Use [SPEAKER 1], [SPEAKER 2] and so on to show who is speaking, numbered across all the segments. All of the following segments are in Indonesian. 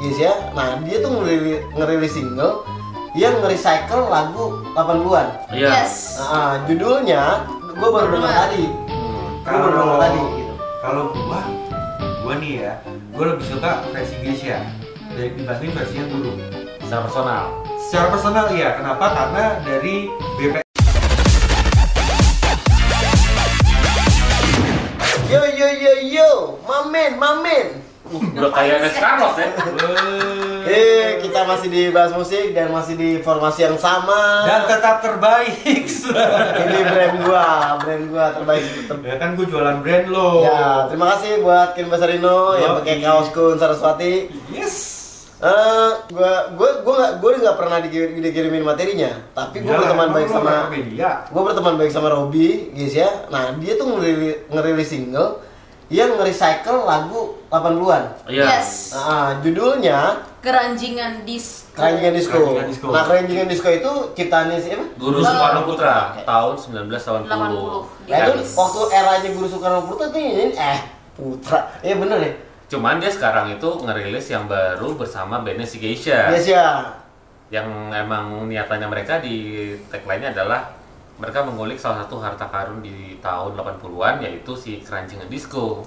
[SPEAKER 1] Yes ya. Nah, dia tuh ngerilis, ngerilis single yang nge-recycle lagu 80-an.
[SPEAKER 2] Iya.
[SPEAKER 3] Yes.
[SPEAKER 1] Nah, judulnya gue baru dengar tadi.
[SPEAKER 2] Hmm.
[SPEAKER 1] Gue baru dengar
[SPEAKER 4] Kalau
[SPEAKER 1] tadi gitu.
[SPEAKER 4] kalau gua, gua nih ya, gua lebih suka versi Indonesia dari dibanding versinya Turun.
[SPEAKER 2] secara personal
[SPEAKER 4] Secara personal iya, kenapa? Karena dari BP
[SPEAKER 1] Yo yo yo yo, mamen, mamen.
[SPEAKER 2] udah kayak Nes Carlos ya
[SPEAKER 1] Eh, kita masih di bahas musik dan masih di formasi yang sama.
[SPEAKER 4] dan tetap terbaik.
[SPEAKER 1] ini brand gua, brand gua terbaik. Ter-
[SPEAKER 4] ya kan gua jualan brand lo.
[SPEAKER 1] Ya, terima kasih buat Kin Basarino yang
[SPEAKER 4] Yoi.
[SPEAKER 1] pakai kaos kun Saraswati.
[SPEAKER 4] Yes.
[SPEAKER 1] Eh, gua gua gua nggak gua nggak pernah dikirim, dikirimin materinya, tapi gua
[SPEAKER 4] Iyalah,
[SPEAKER 1] berteman
[SPEAKER 4] emang
[SPEAKER 1] baik
[SPEAKER 4] lu
[SPEAKER 1] sama
[SPEAKER 4] orang media.
[SPEAKER 1] gue berteman baik sama Robby, guys ya. Nah, dia tuh ngerilis, ngerilis single yang nge-recycle lagu 80-an.
[SPEAKER 2] iya
[SPEAKER 3] Yes.
[SPEAKER 1] Nah, judulnya
[SPEAKER 3] Keranjingan dis.
[SPEAKER 1] Keranjingan Disco.
[SPEAKER 4] Keranjingan Disco.
[SPEAKER 1] Nah, Keranjingan Disco itu ciptaannya siapa?
[SPEAKER 2] Guru
[SPEAKER 3] Lalu-
[SPEAKER 2] Suparno Putra tahun 1980.
[SPEAKER 3] 80.
[SPEAKER 1] Nah, itu
[SPEAKER 2] Yes.
[SPEAKER 1] waktu eranya Guru Soekarno Putra tuh nyanyiin eh Putra. Iya bener ya.
[SPEAKER 2] Cuman dia sekarang itu ngerilis yang baru bersama bandnya si Geisha.
[SPEAKER 1] Guys ya.
[SPEAKER 2] Yang emang niatannya mereka di tagline-nya adalah mereka mengulik salah satu harta karun di tahun 80-an yaitu si Keranjingan Disco.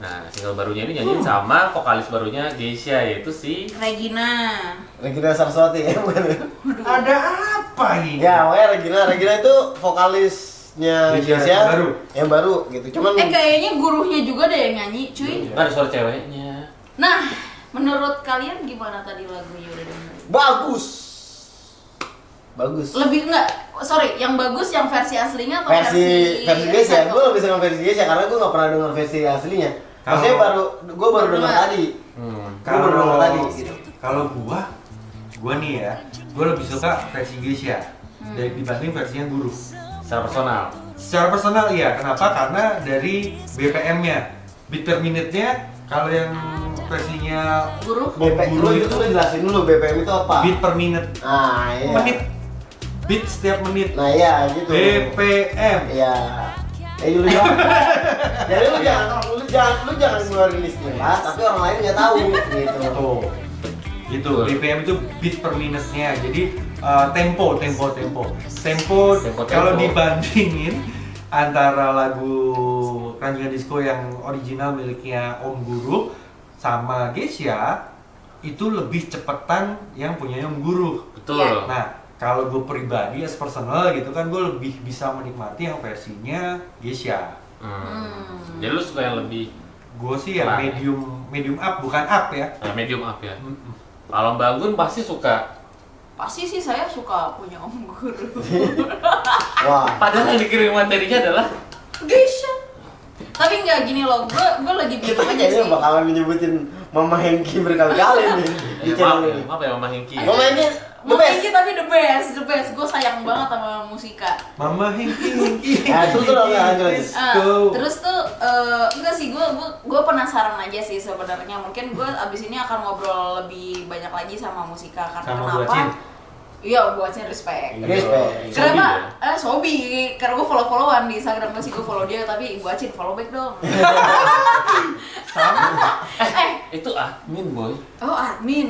[SPEAKER 2] Nah, single barunya ini nyanyiin sama vokalis barunya Geisha yaitu si
[SPEAKER 3] Regina.
[SPEAKER 1] Regina Saraswati ya bukan ya?
[SPEAKER 4] Ada apa ini?
[SPEAKER 1] Ya, pokoknya Regina, Regina itu vokalisnya
[SPEAKER 4] Iya,
[SPEAKER 1] Guys
[SPEAKER 4] yang
[SPEAKER 1] ya.
[SPEAKER 4] baru.
[SPEAKER 1] Yang baru gitu. Cuman
[SPEAKER 3] Eh kayaknya gurunya juga ada yang nyanyi, cuy.
[SPEAKER 4] Iya.
[SPEAKER 2] ada suara ceweknya.
[SPEAKER 3] Nah, menurut kalian gimana tadi lagunya udah dengerin?
[SPEAKER 1] bagus. Bagus.
[SPEAKER 3] Lebih enggak? Sorry, yang bagus yang versi aslinya atau
[SPEAKER 1] versi versi Indonesia
[SPEAKER 3] recycle?
[SPEAKER 1] gue lebih senang versi Indonesia karena gue nggak pernah dengar versi aslinya
[SPEAKER 4] Kalau-
[SPEAKER 1] maksudnya baru gue baru dengar
[SPEAKER 3] Dengar.
[SPEAKER 1] tadi
[SPEAKER 2] Hmm.
[SPEAKER 1] gue baru dengar
[SPEAKER 4] Kalau
[SPEAKER 1] tadi gitu
[SPEAKER 4] kalau gua, gua nih ya, gua lebih suka versi Indonesia dari dibanding versinya Guru.
[SPEAKER 2] Secara personal.
[SPEAKER 4] Secara personal iya, kenapa?
[SPEAKER 1] Hmm.
[SPEAKER 4] Karena dari BPM-nya, beat per minute-nya, kalau yang versinya
[SPEAKER 3] Guru.
[SPEAKER 1] BPM
[SPEAKER 4] Oh, Guru
[SPEAKER 1] lu itu
[SPEAKER 4] itu
[SPEAKER 1] lu jelasin dulu BPM itu apa
[SPEAKER 4] beat per minute,
[SPEAKER 1] nah iya
[SPEAKER 4] menit, beat setiap menit,
[SPEAKER 1] nah iya gitu
[SPEAKER 4] BPM.
[SPEAKER 1] iya Eh lu jangan, jadi lu jangan, lu jangan, lu jangan ngeluarin istilah, tapi orang lain nggak tahu gitu.
[SPEAKER 4] Tuh, itu
[SPEAKER 2] Betul.
[SPEAKER 4] BPM itu beat per minute-nya, jadi eh, tempo, tempo, tempo, tempo.
[SPEAKER 2] Tempo,
[SPEAKER 4] Kalau
[SPEAKER 2] tempo.
[SPEAKER 4] dibandingin antara lagu Ranjungan Disco yang original miliknya Om Guru sama Geisha itu lebih cepetan yang punya Om Guru.
[SPEAKER 2] Betul.
[SPEAKER 4] Nah, kalau gue pribadi as personal gitu kan gue lebih bisa menikmati yang versinya Geisha.
[SPEAKER 2] Hmm. Jadi lu suka yang lebih
[SPEAKER 4] Gue sih yang
[SPEAKER 2] Nah.
[SPEAKER 4] medium medium up bukan up ya.
[SPEAKER 2] eh, medium up ya.
[SPEAKER 4] Mm-mm.
[SPEAKER 2] Kalau Mbak Gun pasti suka.
[SPEAKER 3] Pasti sih saya suka punya om guru.
[SPEAKER 1] Wah,
[SPEAKER 2] Padahal yang dikirim materinya adalah
[SPEAKER 3] Geisha. Tapi nggak gini loh, gue gue lagi
[SPEAKER 1] kita
[SPEAKER 3] bingung
[SPEAKER 1] kan
[SPEAKER 3] aja sih.
[SPEAKER 1] jadi bakalan nyebutin Mama Hengki berkali-kali nih di
[SPEAKER 2] Eh, maaf,
[SPEAKER 1] channel
[SPEAKER 2] ya,
[SPEAKER 1] ini.
[SPEAKER 2] maaf ya Iya. Mama Hengki.
[SPEAKER 1] Mama Hengki, the
[SPEAKER 3] Mama
[SPEAKER 1] best.
[SPEAKER 3] Hengki gitu, tapi the best, the best. Gue sayang banget sama musika.
[SPEAKER 4] Mama hengki hengki.
[SPEAKER 1] Ah, itu tuh lagu yang jelas.
[SPEAKER 3] Ah,
[SPEAKER 4] Disco.
[SPEAKER 3] terus tuh eh, enggak sih gue gue penasaran aja sih sebenarnya mungkin gue abis ini akan ngobrol lebih banyak lagi sama musika karena
[SPEAKER 4] Sama Bu
[SPEAKER 3] kenapa
[SPEAKER 4] Acin.
[SPEAKER 3] iya gue acin respect
[SPEAKER 4] Iya.
[SPEAKER 1] Respect.
[SPEAKER 3] Kenapa? Eh, Sobi, karena gue follow-followan di Instagram gue sih gue follow dia, tapi gue acin follow back dong. eh,
[SPEAKER 2] Itu admin boy.
[SPEAKER 3] oh admin.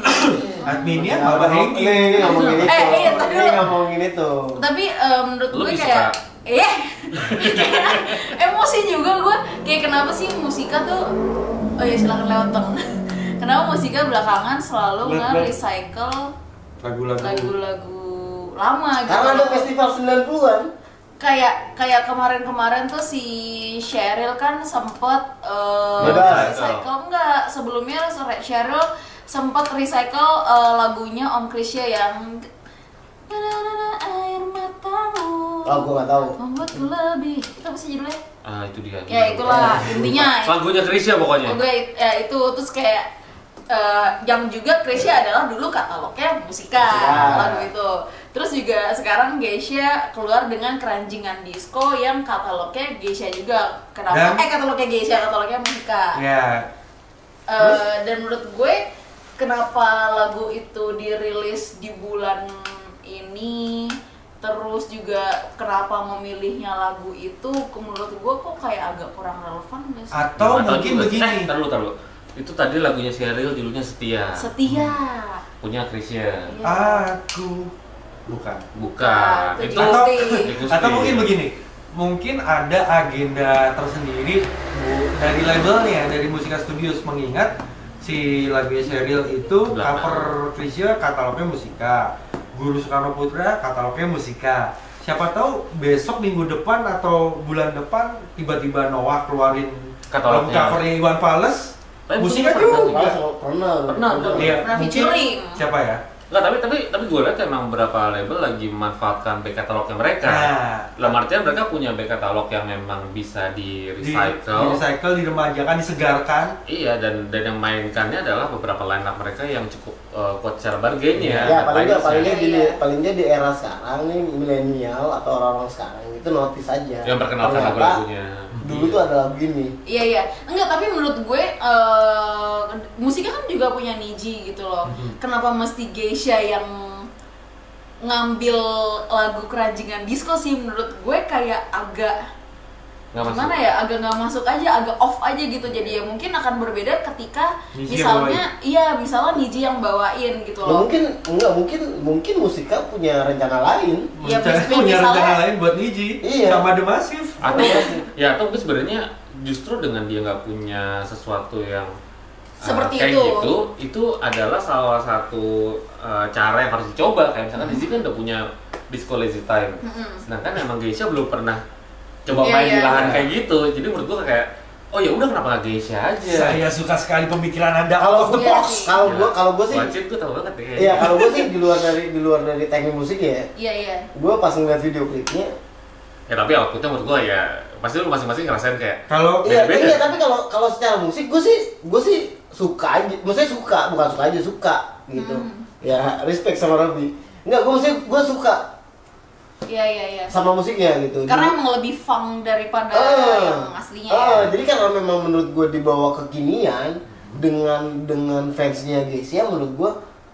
[SPEAKER 4] Adminnya Ya, Mama
[SPEAKER 1] Mama Hengki
[SPEAKER 4] hengki.
[SPEAKER 1] Iya, ini ngomongin itu,
[SPEAKER 3] Eh, iya, tadi
[SPEAKER 1] ini
[SPEAKER 3] lu-
[SPEAKER 1] ngomongin itu.
[SPEAKER 3] tapi eh, menurut
[SPEAKER 2] Lu
[SPEAKER 3] gue
[SPEAKER 2] bisa.
[SPEAKER 3] kayak eh emosi juga gue kayak kenapa sih musika tuh oh ya silakan lewat dong kenapa musika belakangan selalu
[SPEAKER 4] Blek, blek.
[SPEAKER 3] nge-recycle
[SPEAKER 4] Lagu-lagu.
[SPEAKER 3] lagu-lagu lama gitu
[SPEAKER 1] Karena ada festival 90-an.
[SPEAKER 3] kayak kayak kemarin-kemarin tuh si Cheryl kan sempet eh,
[SPEAKER 1] Bebas.
[SPEAKER 3] recycle enggak sebelumnya Sore- Cheryl sempet recycle eh, lagunya Om Krisya yang air matamu
[SPEAKER 1] Oh, gua nggak tahu.
[SPEAKER 3] membuatku lebih itu apa sih judulnya
[SPEAKER 2] Ah, itu dia.
[SPEAKER 3] ya itulah intinya
[SPEAKER 2] Lagunya Krisya pokoknya.
[SPEAKER 3] Oh, gue ya itu terus kayak eh, yang juga Krisya adalah dulu katalognya musika
[SPEAKER 1] Musika.
[SPEAKER 3] lagu itu. Terus juga sekarang Geisha keluar dengan keranjingan disco yang katalognya Geisha juga. Kenapa?
[SPEAKER 4] Dan-
[SPEAKER 3] eh katalognya Geisha, katalognya musika.
[SPEAKER 4] Ya,
[SPEAKER 3] Eh, dan menurut gue kenapa lagu itu dirilis di bulan ini terus juga kenapa memilihnya lagu itu menurut gue kok kayak agak kurang relevan gak sih?
[SPEAKER 4] atau
[SPEAKER 2] Nggak tahu
[SPEAKER 4] mungkin
[SPEAKER 2] juga. Eh,
[SPEAKER 4] begini.
[SPEAKER 2] ntar dulu, ntar dulu. Itu tadi lagunya Sheryl judulnya Setia.
[SPEAKER 3] Setia.
[SPEAKER 2] Punya Chrisye.
[SPEAKER 3] Iya.
[SPEAKER 4] Ah. Aku bukan.
[SPEAKER 2] Bukan.
[SPEAKER 3] Nah,
[SPEAKER 2] itu
[SPEAKER 3] itu
[SPEAKER 4] Atau,
[SPEAKER 3] Gusti.
[SPEAKER 2] Gusti.
[SPEAKER 4] atau mungkin begini, mungkin ada agenda tersendiri bu- dari labelnya, dari Musika Studios mengingat si lagu serial itu
[SPEAKER 2] Belakang.
[SPEAKER 4] cover Chrisye katalognya Musika, Guru Soekarno Putra katalognya Musika. Siapa tahu besok minggu depan atau bulan depan tiba-tiba Noah keluarin lagu
[SPEAKER 2] Katalognya.
[SPEAKER 4] covernya Iwan Fales,
[SPEAKER 2] Tapi
[SPEAKER 4] Musika
[SPEAKER 2] mungkin pernah
[SPEAKER 4] juga.
[SPEAKER 1] Malah selalu pernah.
[SPEAKER 2] Pernah,
[SPEAKER 4] Iya,
[SPEAKER 3] Pernah
[SPEAKER 4] mungkin
[SPEAKER 3] featuring.
[SPEAKER 4] siapa ya?
[SPEAKER 2] Nggak, tapi tapi tapi gue lihat emang beberapa label lagi memanfaatkan back catalognya mereka.
[SPEAKER 4] Nah.
[SPEAKER 2] Dalam artian mereka punya back catalog yang memang bisa di
[SPEAKER 4] Di,
[SPEAKER 2] recycle.
[SPEAKER 4] recycle, diremajakan, disegarkan.
[SPEAKER 2] Iya dan dan yang mainkannya adalah beberapa line up mereka yang cukup eh, kuat secara bargain ya.
[SPEAKER 1] Ya, paling nggak palingnya di
[SPEAKER 3] Iya.
[SPEAKER 1] paling nggak di era sekarang nih milenial atau orang-orang sekarang itu notice aja.
[SPEAKER 2] yang perkenalkan
[SPEAKER 1] Ternyata
[SPEAKER 2] lagu-lagunya.
[SPEAKER 1] Dulu tuh ada lagu ini.
[SPEAKER 3] Iya iya, enggak tapi menurut gue eh musika kan juga punya niji gitu loh. Kenapa mesti Geisha yang ngambil lagu keranjingan disco sih menurut gue kayak agak
[SPEAKER 2] Nggak masuk.
[SPEAKER 3] gimana ya agak nggak masuk aja agak off aja gitu jadi ya mungkin akan berbeda ketika
[SPEAKER 4] Niji yang
[SPEAKER 3] misalnya iya misalnya Niji yang bawain gitu
[SPEAKER 1] Nah,
[SPEAKER 3] loh
[SPEAKER 1] mungkin enggak mungkin mungkin musika punya rencana lain.
[SPEAKER 3] Ya,
[SPEAKER 4] Rencana-
[SPEAKER 3] tapi
[SPEAKER 4] punya
[SPEAKER 3] misalnya-
[SPEAKER 4] rencana lain buat Niji
[SPEAKER 1] Iya.
[SPEAKER 4] sama The Massive.
[SPEAKER 2] Atau ya atau mungkin sebenarnya justru dengan dia nggak punya sesuatu yang eh,
[SPEAKER 3] Seperti
[SPEAKER 2] kayak
[SPEAKER 3] itu.
[SPEAKER 2] gitu, itu adalah salah satu eh, cara yang harus dicoba. Kayak misalkan Dizzy kan udah punya disco lazy time,
[SPEAKER 3] Mm-mm.
[SPEAKER 2] sedangkan emang Geisha belum pernah coba
[SPEAKER 3] Iya,
[SPEAKER 2] main di
[SPEAKER 3] iya.
[SPEAKER 2] lahan kayak gitu. Jadi menurut gua kayak, oh ya udah kenapa nggak Geisha aja? Iya.
[SPEAKER 4] Saya suka sekali pemikiran Anda out
[SPEAKER 1] Iya. Kalau
[SPEAKER 4] of the
[SPEAKER 3] Iya
[SPEAKER 4] box.
[SPEAKER 3] sih.
[SPEAKER 1] Kalau gua kalau gua sih
[SPEAKER 2] Wajib tuh tau banget ya.
[SPEAKER 1] Iya, kalau gua sih di luar dari di luar dari teknik musik ya.
[SPEAKER 3] iya iya
[SPEAKER 1] Gua pas ngeliat video klipnya
[SPEAKER 2] Ya tapi outputnya menurut gua ya pasti lu masing-masing ngerasain kayak
[SPEAKER 4] Kalau
[SPEAKER 1] Iya,
[SPEAKER 2] Beda-beda.
[SPEAKER 1] iya, tapi kalau kalau secara musik gue sih gue sih suka aja, maksudnya suka bukan suka aja suka gitu.
[SPEAKER 3] Hmm.
[SPEAKER 1] Ya respect sama Robby. Enggak, gue maksudnya gue suka
[SPEAKER 3] iya iya iya
[SPEAKER 1] sama musiknya gitu.
[SPEAKER 3] karena emang lebih funk daripada
[SPEAKER 1] Eh,
[SPEAKER 3] yang aslinya
[SPEAKER 1] eh,
[SPEAKER 3] ya.
[SPEAKER 1] jadi kalau memang menurut gue dibawa kekinian dengan dengan fansnya Geisha menurut gue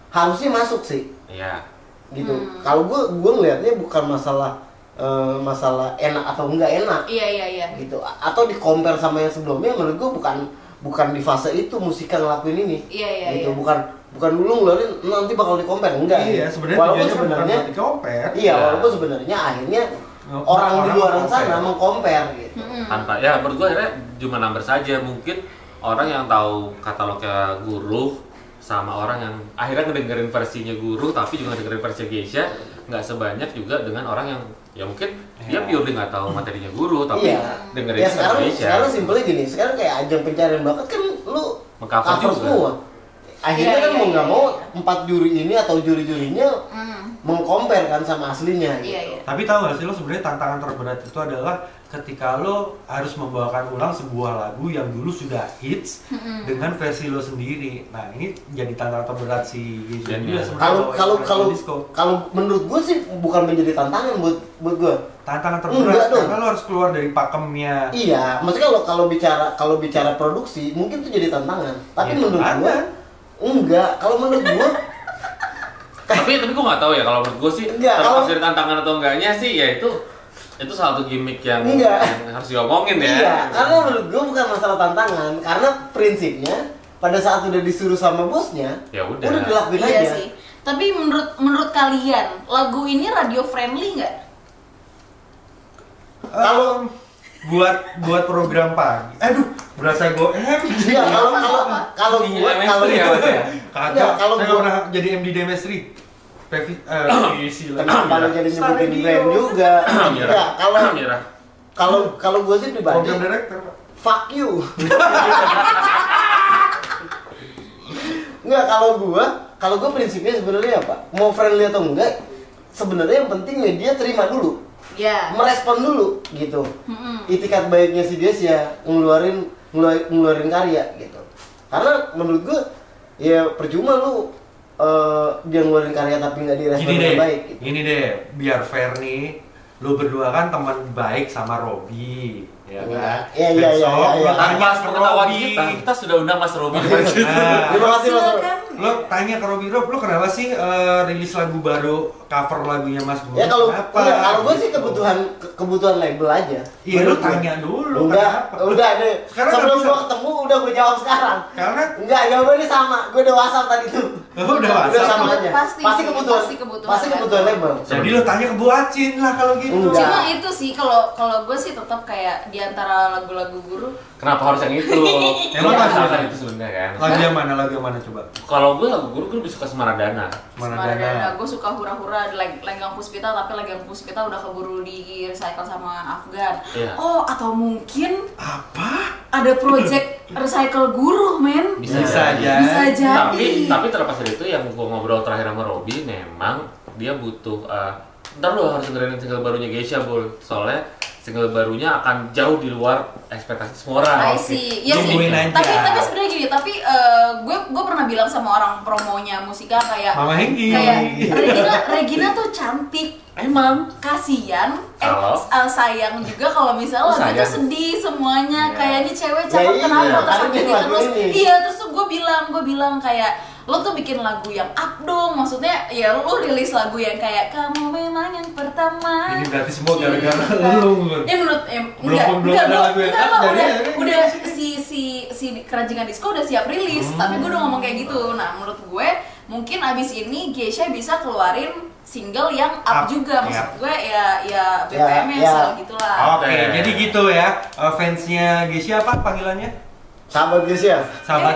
[SPEAKER 1] harusnya masuk sih
[SPEAKER 2] ya
[SPEAKER 1] gitu.
[SPEAKER 3] Hmm.
[SPEAKER 1] Kalau gue gue ngelihatnya bukan masalah eh, masalah enak atau enggak enak
[SPEAKER 3] iya iya iya
[SPEAKER 1] gitu A- atau di compare sama yang sebelumnya menurut gue bukan bukan di fase itu musika ngelakuin ini
[SPEAKER 3] Iya, iya,
[SPEAKER 1] gitu
[SPEAKER 3] iya.
[SPEAKER 1] bukan bukan dulu ngeluarin nanti bakal di compare enggak
[SPEAKER 4] Iya,
[SPEAKER 1] gitu.
[SPEAKER 4] sebenarnya
[SPEAKER 1] walaupun
[SPEAKER 4] tujuannya bukan
[SPEAKER 1] sebenarnya
[SPEAKER 4] buat dikompet.
[SPEAKER 1] iya
[SPEAKER 2] Iya.
[SPEAKER 1] walaupun sebenarnya akhirnya
[SPEAKER 4] Orang-
[SPEAKER 1] orang di
[SPEAKER 4] orang
[SPEAKER 1] luar
[SPEAKER 4] meng-compare.
[SPEAKER 1] sana mengcompare gitu
[SPEAKER 3] Mm-mm.
[SPEAKER 2] tanpa ya menurut gua akhirnya cuma number saja mungkin orang yang tahu katalognya guru sama orang yang akhirnya ngedengerin versinya guru tapi juga dengerin versi Geisha nggak sebanyak juga dengan orang yang ya mungkin dia
[SPEAKER 4] Iya.
[SPEAKER 2] purely nggak tahu materinya guru tapi
[SPEAKER 1] Iya.
[SPEAKER 2] dengerin
[SPEAKER 1] ya
[SPEAKER 2] versi
[SPEAKER 1] sekarang
[SPEAKER 2] Geisha
[SPEAKER 1] sekarang simpelnya gini sekarang kayak ajang pencarian bakat kan lu
[SPEAKER 2] Meng-cover
[SPEAKER 1] cover
[SPEAKER 2] juga.
[SPEAKER 1] semua akhirnya
[SPEAKER 3] Iya,
[SPEAKER 1] kan
[SPEAKER 3] iya,
[SPEAKER 1] mau
[SPEAKER 3] iya,
[SPEAKER 1] nggak
[SPEAKER 3] iya.
[SPEAKER 1] mau empat juri ini atau juri-jurinya
[SPEAKER 3] Mm.
[SPEAKER 1] mengcompare kan sama aslinya gitu
[SPEAKER 3] iya iya
[SPEAKER 4] Tapi tahu gak sih lo sebenarnya tantangan terberat itu adalah ketika lo harus membawakan ulang sebuah lagu yang dulu sudah hits dengan versi lo sendiri. Nah ini jadi tantangan terberat si Geisha
[SPEAKER 2] Dan
[SPEAKER 4] juga
[SPEAKER 2] ya.
[SPEAKER 4] sebenarnya
[SPEAKER 1] kalau
[SPEAKER 4] bawain
[SPEAKER 1] kalau
[SPEAKER 4] versi
[SPEAKER 1] kalau
[SPEAKER 4] disco.
[SPEAKER 1] kalau menurut gue sih bukan menjadi tantangan buat buat gue
[SPEAKER 4] tantangan
[SPEAKER 1] Enggak
[SPEAKER 4] terberat
[SPEAKER 1] dong.
[SPEAKER 4] karena lo harus keluar dari pakemnya
[SPEAKER 1] iya maksudnya kalau kalau bicara kalau bicara produksi mungkin itu jadi tantangan tapi
[SPEAKER 4] Ya,
[SPEAKER 1] menurut gue
[SPEAKER 4] tantangan.
[SPEAKER 1] enggak kalau menurut gue
[SPEAKER 2] tapi tapi gue nggak tahu ya kalau menurut gue sih
[SPEAKER 1] Enggak,
[SPEAKER 2] terlepas
[SPEAKER 1] kalau-
[SPEAKER 2] dari tantangan atau enggaknya sih ya itu itu salah satu gimmick yang,
[SPEAKER 1] Enggak.
[SPEAKER 2] yang harus diomongin ya
[SPEAKER 1] iya karena menurut gue bukan masalah tantangan karena prinsipnya pada saat udah disuruh sama bosnya
[SPEAKER 2] Ya udah.
[SPEAKER 1] udah dilakuin
[SPEAKER 3] Iya
[SPEAKER 1] aja
[SPEAKER 3] sih. Tapi menurut menurut kalian lagu ini radio friendly nggak?
[SPEAKER 1] Kalau-
[SPEAKER 4] Em, buat buat program pagi aduh berasa gue em
[SPEAKER 1] Iya, kalau kalau kalau gue
[SPEAKER 2] Iya, mainstream
[SPEAKER 1] kalau
[SPEAKER 2] ya, Mas, ya?
[SPEAKER 1] Enggak,
[SPEAKER 4] kagak
[SPEAKER 1] kalau
[SPEAKER 4] kalau saya nggak
[SPEAKER 1] gua-
[SPEAKER 4] pernah jadi MD Demestri Pevi eh isi lagi
[SPEAKER 1] kenapa lu jadi
[SPEAKER 4] Star
[SPEAKER 1] nyebutin
[SPEAKER 4] Radio.
[SPEAKER 1] brand juga
[SPEAKER 2] Mira.
[SPEAKER 1] enggak kalau
[SPEAKER 2] Mira.
[SPEAKER 1] kalau kalau gue sih pribadi
[SPEAKER 4] program director Pak.
[SPEAKER 1] fuck you nggak kalau gua kalau gua prinsipnya sebenarnya apa mau friendly atau enggak sebenarnya yang penting media terima dulu
[SPEAKER 3] Ya.
[SPEAKER 1] merespon dulu gitu
[SPEAKER 3] Mm-mm.
[SPEAKER 1] itikat baiknya si Desya ngeluarin ngelua- ngeluarin karya gitu karena menurut gua ya percuma lu eh, dia ngeluarin karya tapi nggak direspon
[SPEAKER 4] gini deh
[SPEAKER 1] dengan baik gitu.
[SPEAKER 4] gini deh biar fair nih lu berdua kan teman baik sama Robi ya kan
[SPEAKER 1] Iya, iya, iya,
[SPEAKER 4] Besok
[SPEAKER 1] iya,
[SPEAKER 4] lu
[SPEAKER 1] iya.
[SPEAKER 4] tanya
[SPEAKER 2] Tanpa
[SPEAKER 4] ke
[SPEAKER 2] pengetahuan
[SPEAKER 4] Robi
[SPEAKER 2] kita, kita sudah undang Mas Robi di sini.
[SPEAKER 4] Nah,
[SPEAKER 1] terima kasih mas
[SPEAKER 3] Silakan.
[SPEAKER 4] lo tanya ke Robi Rob, lo kenapa sih eh, rilis lagu baru cover lagunya Mas Guru.
[SPEAKER 1] ya kalau
[SPEAKER 4] apa?
[SPEAKER 1] iya, kalau gue sih kebutuhan ke- kebutuhan label aja
[SPEAKER 4] Iya, lu
[SPEAKER 1] Menurut gua.
[SPEAKER 4] tanya dulu.
[SPEAKER 1] udah
[SPEAKER 4] kenapa?
[SPEAKER 1] udah nih
[SPEAKER 4] Sekarang
[SPEAKER 1] sebelum
[SPEAKER 4] nggak bisa.
[SPEAKER 1] gue ketemu udah gue jawab sekarang
[SPEAKER 4] Karena
[SPEAKER 1] enggak jawabannya sama gue udah whatsapp tadi tuh
[SPEAKER 4] lu udah
[SPEAKER 1] udah
[SPEAKER 4] WhatsApp.
[SPEAKER 1] sama aja
[SPEAKER 3] Pasti sih,
[SPEAKER 1] kebutuhan
[SPEAKER 3] pasti kebutuhan kan?
[SPEAKER 1] pasti kebutuhan label
[SPEAKER 4] Jadi lu tanya ke Bu Acin lah kalau gitu.
[SPEAKER 1] Enggak.
[SPEAKER 3] Cuma itu sih kalau kalau gue sih tetap kayak di antara lagu-lagu guru
[SPEAKER 2] Kenapa harus yang itu?
[SPEAKER 4] Emang
[SPEAKER 2] Iya,
[SPEAKER 4] harus
[SPEAKER 2] harus
[SPEAKER 4] yang
[SPEAKER 2] yang itu sebenarnya kan.
[SPEAKER 4] Lagu yang mana? Lagu yang mana coba?
[SPEAKER 2] Kalau gue lagu guru gue lebih suka Semaradana.
[SPEAKER 4] Maradona.
[SPEAKER 3] gue suka hura-hura di Leng- Lenggang Puspita tapi Lenggang Puspita udah keburu di recycle sama Afgan.
[SPEAKER 2] Iya.
[SPEAKER 3] Oh, atau mungkin
[SPEAKER 4] Apa?
[SPEAKER 3] ada project recycle guru, men.
[SPEAKER 2] Bisa
[SPEAKER 4] Bisa
[SPEAKER 2] jadi.
[SPEAKER 4] aja.
[SPEAKER 3] Bisa jadi.
[SPEAKER 2] Tapi tapi terlepas dari itu yang gue ngobrol terakhir sama Robi memang dia butuh eh, ntar lu harus dengerin single barunya Geisha Bul soalnya single barunya akan jauh di luar ekspektasi semua orang.
[SPEAKER 3] I see. Iya sih.
[SPEAKER 4] Tungguin aja.
[SPEAKER 3] Tapi tapi sebenarnya gini, tapi eh, gue gue pernah bilang sama orang promonya musika kayak
[SPEAKER 4] Mama Hengki.
[SPEAKER 3] kayak Regina Regina tuh cantik
[SPEAKER 2] Emang.
[SPEAKER 3] kasihan eh
[SPEAKER 2] Halo?
[SPEAKER 3] s- eh, sayang juga kalau misalnya
[SPEAKER 2] Oh,
[SPEAKER 3] lagu itu
[SPEAKER 2] sayang.
[SPEAKER 3] sedih semuanya
[SPEAKER 2] Iya.
[SPEAKER 3] kayak ini cewek cakep
[SPEAKER 1] iya,
[SPEAKER 3] kenapa terus
[SPEAKER 1] karena dia
[SPEAKER 3] gini
[SPEAKER 1] lagu
[SPEAKER 3] terus
[SPEAKER 1] ini.
[SPEAKER 3] iya terus tuh gue bilang gue bilang kayak lo tuh bikin lagu yang up dong maksudnya ya lo rilis lagu yang kayak kamu memang yang pertama
[SPEAKER 4] Ini berarti semua gara-gara
[SPEAKER 3] Cinta.
[SPEAKER 4] lu, Mun.
[SPEAKER 3] ya menurut eh,
[SPEAKER 4] Belum-
[SPEAKER 3] enggak
[SPEAKER 4] belum
[SPEAKER 3] enggak
[SPEAKER 4] ada
[SPEAKER 3] belum-
[SPEAKER 4] lagu yang ya?
[SPEAKER 3] enggak,
[SPEAKER 4] up
[SPEAKER 3] enggak,
[SPEAKER 4] dari-
[SPEAKER 3] udah
[SPEAKER 4] dari-
[SPEAKER 3] udah si si si keranjingan disco udah siap rilis tapi gue udah ngomong kayak gitu nah menurut gue mungkin abis ini Geisha bisa keluarin single yang up,
[SPEAKER 4] Up,
[SPEAKER 3] juga maksud
[SPEAKER 4] ya.
[SPEAKER 3] gue ya ya
[SPEAKER 1] Ya,
[SPEAKER 3] BPM
[SPEAKER 1] ya.
[SPEAKER 3] ya soal gitulah
[SPEAKER 4] Oke,
[SPEAKER 2] Oke.
[SPEAKER 4] jadi gitu ya. Eh, fansnya Geisha apa panggilannya?
[SPEAKER 1] sahabat guys ya kan?
[SPEAKER 4] Sahabat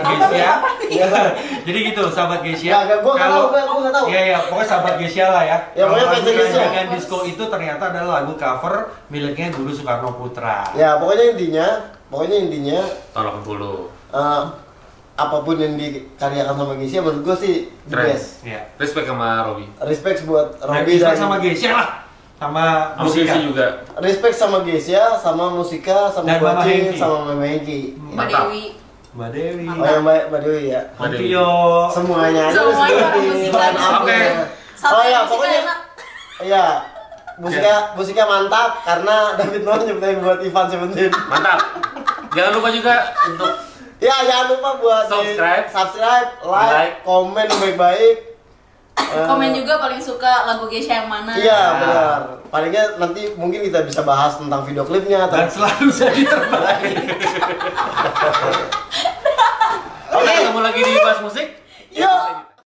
[SPEAKER 3] Eh, apa
[SPEAKER 4] Geisha.
[SPEAKER 3] nih, apa
[SPEAKER 1] Iya.
[SPEAKER 4] jadi gitu, sahabat Geisha.
[SPEAKER 1] Nggak, nggak, gua nggak tahu, gua- gua nggak tahu.
[SPEAKER 4] Iya, iya, pokoknya sahabat Geisha lah ya.
[SPEAKER 1] Ya, pokoknya
[SPEAKER 4] Kalau
[SPEAKER 1] fansnya
[SPEAKER 4] lagu
[SPEAKER 1] Geisha.
[SPEAKER 4] Rancangan disco itu ternyata adalah lagu cover miliknya Guru Soekarno Putra.
[SPEAKER 1] ya pokoknya intinya pokoknya intinya
[SPEAKER 2] Tolong dulu.
[SPEAKER 1] eh, apapun yang dikaryakan sama Gisya menurut gue sih the
[SPEAKER 2] Keren.
[SPEAKER 1] best
[SPEAKER 4] Iya.
[SPEAKER 2] Respect sama Robi.
[SPEAKER 1] respect buat Robby
[SPEAKER 4] Robi
[SPEAKER 1] dan
[SPEAKER 4] sama Geisha lah. Sama
[SPEAKER 2] Sama
[SPEAKER 4] musika.
[SPEAKER 2] Geisha juga.
[SPEAKER 1] respect sama Geisya sama Musika sama
[SPEAKER 4] Dan Mama
[SPEAKER 1] Bocin
[SPEAKER 4] Hengki. Nah.
[SPEAKER 1] sama Mama Hengki
[SPEAKER 3] Mbak
[SPEAKER 2] Mantap.
[SPEAKER 3] Dewi
[SPEAKER 4] Mbak Dewi.
[SPEAKER 1] oh ya Mbak Mbak Dewi ya
[SPEAKER 2] Mbak Dewi.
[SPEAKER 4] Hampio.
[SPEAKER 1] semuanya aja
[SPEAKER 3] Semuanya,
[SPEAKER 1] Dewi.
[SPEAKER 3] Musika.
[SPEAKER 1] Bahan apple.
[SPEAKER 3] Satu
[SPEAKER 1] oh ya
[SPEAKER 3] yang musik
[SPEAKER 1] pokoknya
[SPEAKER 3] enak.
[SPEAKER 1] iya Musika, musika mantap karena David Noah nyiptain buat Ivan Seventeen.
[SPEAKER 2] Mantap. Jangan lupa juga untuk
[SPEAKER 1] Ya jangan lupa buat di-
[SPEAKER 2] Subscribe.
[SPEAKER 1] subscribe, like,
[SPEAKER 2] Like.
[SPEAKER 1] komen baik-baik. Eh,
[SPEAKER 3] komen juga paling suka lagu Geisha yang mana
[SPEAKER 1] Iya benar. Palingnya nanti mungkin kita bisa bahas tentang video klipnya.
[SPEAKER 4] Dan
[SPEAKER 1] atau-
[SPEAKER 4] selalu jadi terbaik.
[SPEAKER 2] kita ketemu lagi di Bas Musik.